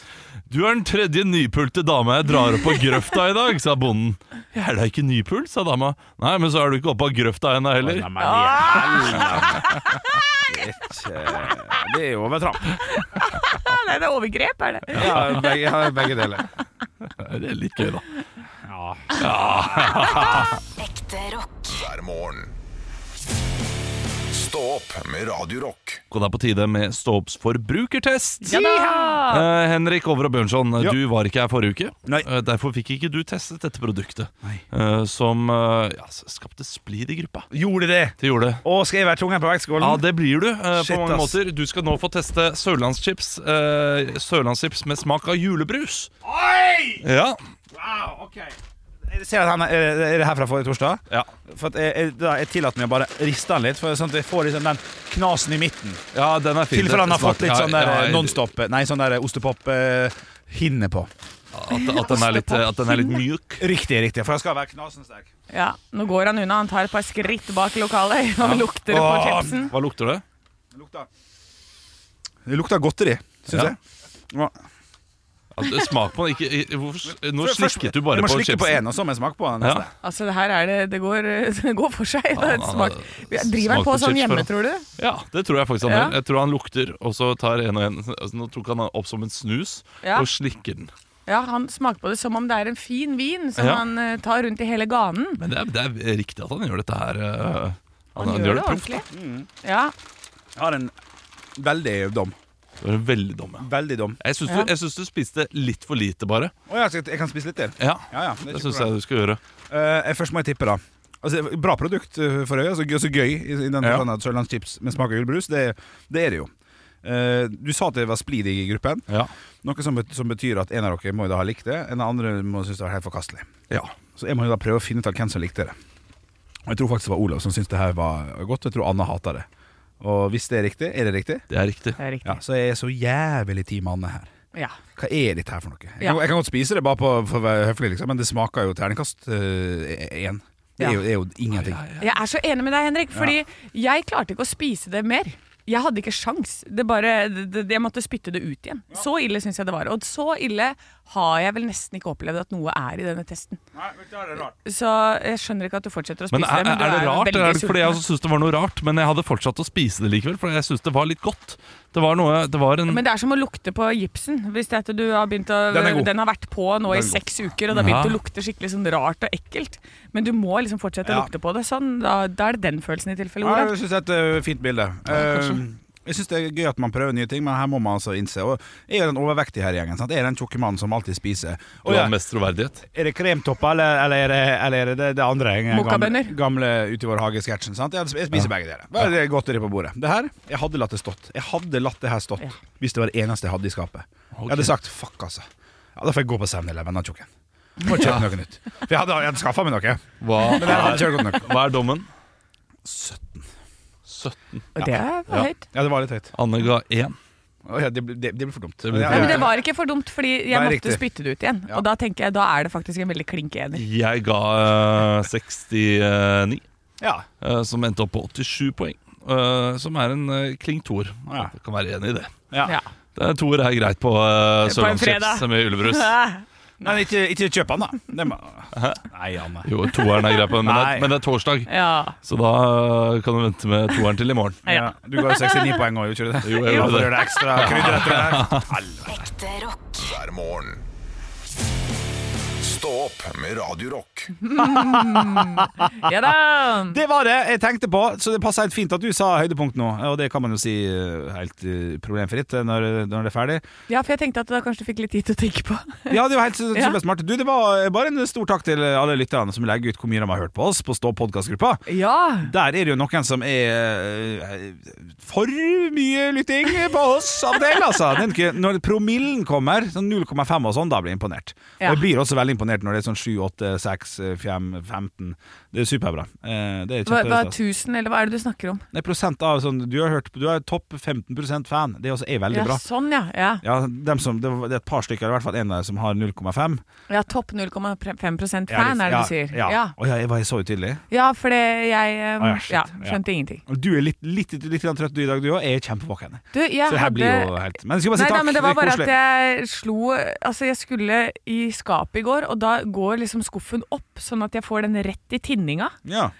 D: Du er den tredje nypulte dama jeg drar opp på grøfta i dag, sa bonden. Jeg er da ikke nypult, sa dama. Nei, men så er du ikke oppe av grøfta ennå heller.
B: Nei, men i
D: [laughs]
B: helvete. Ikke- Det er jo overtramp.
C: Ja, nei, det er overgrep, er det.
B: Ja, begge, ja, begge deler.
D: Det er litt gøy, da.
E: Ekte rock.
A: hver morgen. Stå opp med Radio Rock.
D: Og det er på tide med Stå opps forbrukertest.
C: Ja da!
D: Eh, Henrik Over og Bjørnson,
B: Ja.
D: du var ikke her forrige uke.
B: Nei.
D: Eh, derfor fikk ikke du testet dette produktet,
B: Nei.
D: eh, som eh, ja, skapte splid i gruppa.
B: Gjorde det?
D: Det gjorde det.
B: Og skal jeg være tungen på vektskålen?
D: Ja, det blir du eh,
B: Mm. Shit,
D: på mange
B: ass.
D: måter. Du skal nå få teste sørlandschips, eh, sørlandschips med smak av julebrus.
B: Oi!
D: Ja.
B: Wow, ok. Jeg ser at han er, er det her fra forrige torsdag?
D: Ja.
B: For at jeg, jeg, da- jeg tillater meg å bare riste han litt, for sånn at jeg får liksom den knasen i midten.
D: ja, den er fin.
B: Tilfelle han har
D: Smak-
B: fått litt
D: ja,
B: sånn der
D: ja,
B: eh, nonstop Nei, sånn der ostepop-hinne på.
D: At, at, den er litt, eh, at den er litt mjuk.
B: Riktig, riktig. For jeg skal være knasen sterk.
C: Ja, nå går han unna. Han tar et par skritt bak lokalet [laughs] og lukter på
B: Åh.
C: chipsen.
D: Hva lukter det?
B: Det lukter Det lukter godteri, syns
D: Ja.
B: jeg. Ja.
D: At, eh, smak på den. Ikke, i- hvorfor, s- nå
B: Først-
D: slikket du bare
B: jeg må
D: på
B: slikke
D: chipsen.
B: på en, og så må jeg smake på den.
D: Ja.
B: neste.
C: Altså, det her er det Det går, [laughs] det går for seg. Det er et
D: han
C: smak.
D: har
C: Vi driver han
D: smakt
C: på
D: på
C: sånn
D: chips
C: hjemme,
D: før.
C: tror du?
D: Ja, det tror jeg faktisk han
C: Ja.
D: gjør. Jeg tror han lukter, og så tar en og en altså, Nå tok han opp som en snus
C: Ja.
D: og slikker den.
C: Ja, Han smaker på det som om det er en fin vin som
D: Ja.
C: han eh, tar rundt i hele ganen.
D: Men det er, det er riktig at han gjør dette her. eh,
C: Han, gjør, det
D: proft.
C: ordentlig. Mm. Ja.
B: Jeg har en veldig dom.
D: Du er veldig dum. ja.
B: Veldig dum.
D: Jeg syns
C: Ja.
D: du, jeg syns du spiste litt for lite, bare.
B: Å, ja, så jeg, jeg kan spise litt til.
D: Ja,
B: Ja, ja, det er
D: Det syns
B: ikke problem.
D: jeg du skal gjøre.
B: Eh, jeg- først må jeg tippe, da. Altså, bra produkt eh, for øyet. Så gøy, så gøy i, i den
D: Ja.
B: forstand at sørlandschips med smak av julebrus, det, det er det jo. Eh, du sa at det var splid i gruppen,
D: Ja.
B: noe som, bet- som betyr at en av dere må jo da ha likt det, en av andre må synes det var helt forkastelig.
D: ja.
B: Så jeg må jo da prøve å finne ut av hvem som likte det. Og Jeg tror faktisk det var Olav som syntes det her var godt, og jeg tror Anna hata det. Og hvis det er riktig, er det riktig?
D: Det er riktig.
C: Det er riktig.
B: Ja, så jeg er så jævlig team Anne her.
C: Ja.
B: Hva er dette her for noe? Jeg kan,
C: Ja.
B: jeg kan godt spise det, bare på, for å være høflig, liksom, men det smaker jo terningkast eh, én. det,
C: Ja.
B: er jo, det er jo ingenting.
C: Jeg er så enig med deg, Henrik, fordi jeg klarte ikke å spise det mer. Jeg hadde ikke sjans. Det bare, det, det, jeg måtte spytte det ut igjen. Så ille syns jeg det var. Og så ille har jeg vel nesten ikke opplevd at noe er i denne testen. Så jeg skjønner ikke at du fortsetter å spise
D: Men er,
C: det. Men du
D: er det
C: jo
D: rart?
C: veldig
D: Eller er det fordi jeg
C: sulten.
D: også syns det var noe rart, men jeg hadde fortsatt å spise det likevel, for jeg syns det var litt godt. Det var noe Det var en
C: Men det er som å lukte på gipsen. Hvis det er at du har begynt å,
B: Den er god.
C: har vært på nå
B: Den er
C: i
B: god.
C: seks uker, og det har begynt
D: Ja.
C: å lukte skikkelig sånn rart og ekkelt. Men du må liksom fortsette
B: Ja.
C: å lukte på det. Sånn, da, da er det den følelsen i tilfelle.
B: Ja,
C: Olav.
B: jeg syns det er et ø, fint bilde. Ehm, jeg syns det er gøy at man prøver nye ting, men her må man altså innse Og Jeg er den overvektige her i gjengen. Sant? Jeg er den tjukke mannen som alltid spiser. Og
D: Du har
B: jeg-
D: mest troverdighet.
B: Er det kremtopper, eller, eller, er det- eller er det det, det andre? jeg-
C: Mokkabønner.
B: Gamle, gamle Ute i vår hage-sketsjen. sant? Jeg jeg spiser begge deler. Bare det er godteri på bordet. Det her, jeg hadde latt det stått. Jeg hadde latt det her stått
C: Ja.
B: hvis det var det eneste jeg hadde i skapet. Jeg hadde sagt fuck, altså. Ja, Da får jeg gå på 7-Eleven, da, tjukken. Må kjøpe noe nytt. For jeg hadde, jeg hadde skaffa meg noe.
D: Hva
B: Men jeg hadde
D: er,
B: kjørt godt nok.
D: hva er dommen? 17.
C: Og det
D: Ja.
C: er høyt.
B: Ja, det var litt høyt.
D: Anne ga én.
B: Å, ja, det, blir- det, det blir for dumt.
D: Det blir
B: Ja,
D: for
C: Nei,
B: ja,
C: men
B: ja.
C: det var ikke for dumt, fordi jeg
B: Nei,
C: måtte
B: riktig.
C: spytte det ut igjen.
B: Ja.
C: Og da tenker jeg, da er det faktisk en veldig klink ener.
D: Jeg ga eh, 69,
B: Ja.
D: eh, som endte opp på 87 poeng. eh, som er en eh, kling toer.
B: Ja.
D: Jeg Kan være enig i det.
C: Ja.
D: Det er Toer er greit på uh,
C: På en fredag.
D: sørlandschips med julebrus.
C: [laughs]
B: Men ikke, ikke kjøp den, da. Det må... Nei, Anne.
D: Jo, toeren er grei på den, men, det
B: Nei.
D: er- men det er torsdag,
C: Ja.
D: så da eh, kan du vente med toeren til i morgen.
C: Ja.
B: Ja. Du ga jo 69 poeng òg, gjorde du ikke det?
D: Jo, jeg gjorde
B: Hvorfor
D: det.
B: gjør det ekstra krydder etter det der.
D: [laughs]
E: Ekte rock.
A: hver morgen. Stå opp med Radio Rock.
C: ja da!
B: Det var det jeg tenkte på, så det passer helt fint at du sa høydepunkt nå. Og det kan man jo si eh, helt eh, problemfritt eh, når, når det er ferdig.
C: Ja, for jeg tenkte at da kanskje du fikk litt tid til å tenke på.
B: [laughs] Ja, det var helt su-
C: Ja.
B: supersmart. Du, det var eh, bare en stor takk til alle lytterne som legger ut hvor mye de har hørt på oss på Stå podkastgruppa.
C: Ja!
B: Der er det jo noen som er eh, for mye lytting på oss av og til, altså. Den, k- når promillen kommer, sånn 0,5 og sånn, da blir jeg imponert.
C: Ja.
B: Og jeg blir også veldig imponert når det er sånn 7, 8, 6, 5, 15. eh, Det er superbra. Eh, Det er
C: Hva, hva er
B: kjempestas.
C: tusen, eller hva er det du snakker om?
B: Nei, prosent av sånn Du har hørt Du er topp 15 fan. Det også er veldig
C: Ja,
B: bra.
C: sånn, ja. Ja,
B: Ja, dem som, det var- det er et par stykker, i hvert fall en av dem, som har 0,5.
C: ja topp 0,5 fan,
B: Ja,
C: er det
B: ja,
C: du sier?
B: Ja.
C: ja.
B: Å, ja, jeg var jeg så utydelig.
C: Ja, for det jeg um,
B: Å, ja, shit.
C: ja,
B: Ja.
C: skjønte ingenting.
B: Og Du er litt, litt, litt, grann trøtt du i dag, du òg. Jeg er kjempevåken.
C: Du, jeg
B: Så det her
C: hadde
B: blir jo helt Men jeg skal bare si
C: Nei,
B: takk.
C: nei, men det var bare
B: koselig.
C: at jeg slo Altså, jeg skulle i skapet i går, og da går liksom skuffen opp, sånn at jeg får den rett i tinninga.
B: Ja.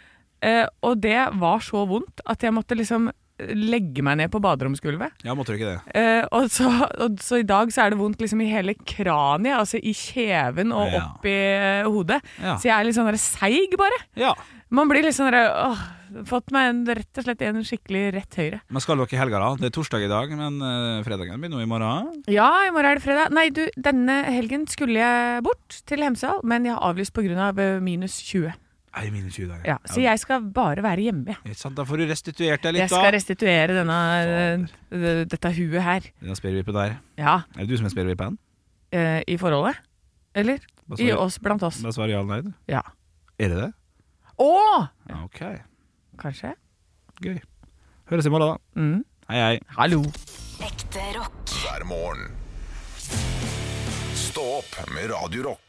C: Eh, og det var så vondt at jeg måtte liksom legge meg ned på baderomsgulvet.
B: ja, måtte du ikke det?
C: Eh, og, så, og så i dag så er det vondt liksom i hele kraniet, altså i kjeven og
B: Ja.
C: opp i eh, hodet.
B: Ja.
C: Så jeg er litt sånn der seig, bare.
B: Ja.
C: Man blir litt sånn der åh, Fått meg en, rett og slett en skikkelig rett høyre.
B: Men skal dere i helga, da? Det er torsdag i dag, men eh, fredagen begynner jo i morgen.
C: Ja, i morgen er det fredag. Nei, du, denne helgen skulle jeg bort til Hemsedal, men jeg har avlyst pga. Av eh, minus 20.
B: Nei, mine 20 dager.
C: Ja, så jeg skal bare være hjemme. jeg.
B: Ikke sant? Da får du restituert deg
C: Jeg
B: litt,
C: skal
B: da.
C: restituere denne, eh, dette huet her.
B: Den spirrevippen der.
C: Ja,
B: Er det du som er spirrevippen?
C: eh, i forholdet. Eller?
B: Da
C: I
B: svarer-
C: oss, blant oss.
B: Da svarer ja eller nei, du.
C: Ja.
B: Er det det?
C: Å!
B: Ja, Ok.
C: Kanskje.
B: Gøy. Høres i morgen, da.
C: Mm.
B: Hei, hei.
C: Hallo.
E: Ekte rock.
A: hver morgen. Stå opp med Radio Rock.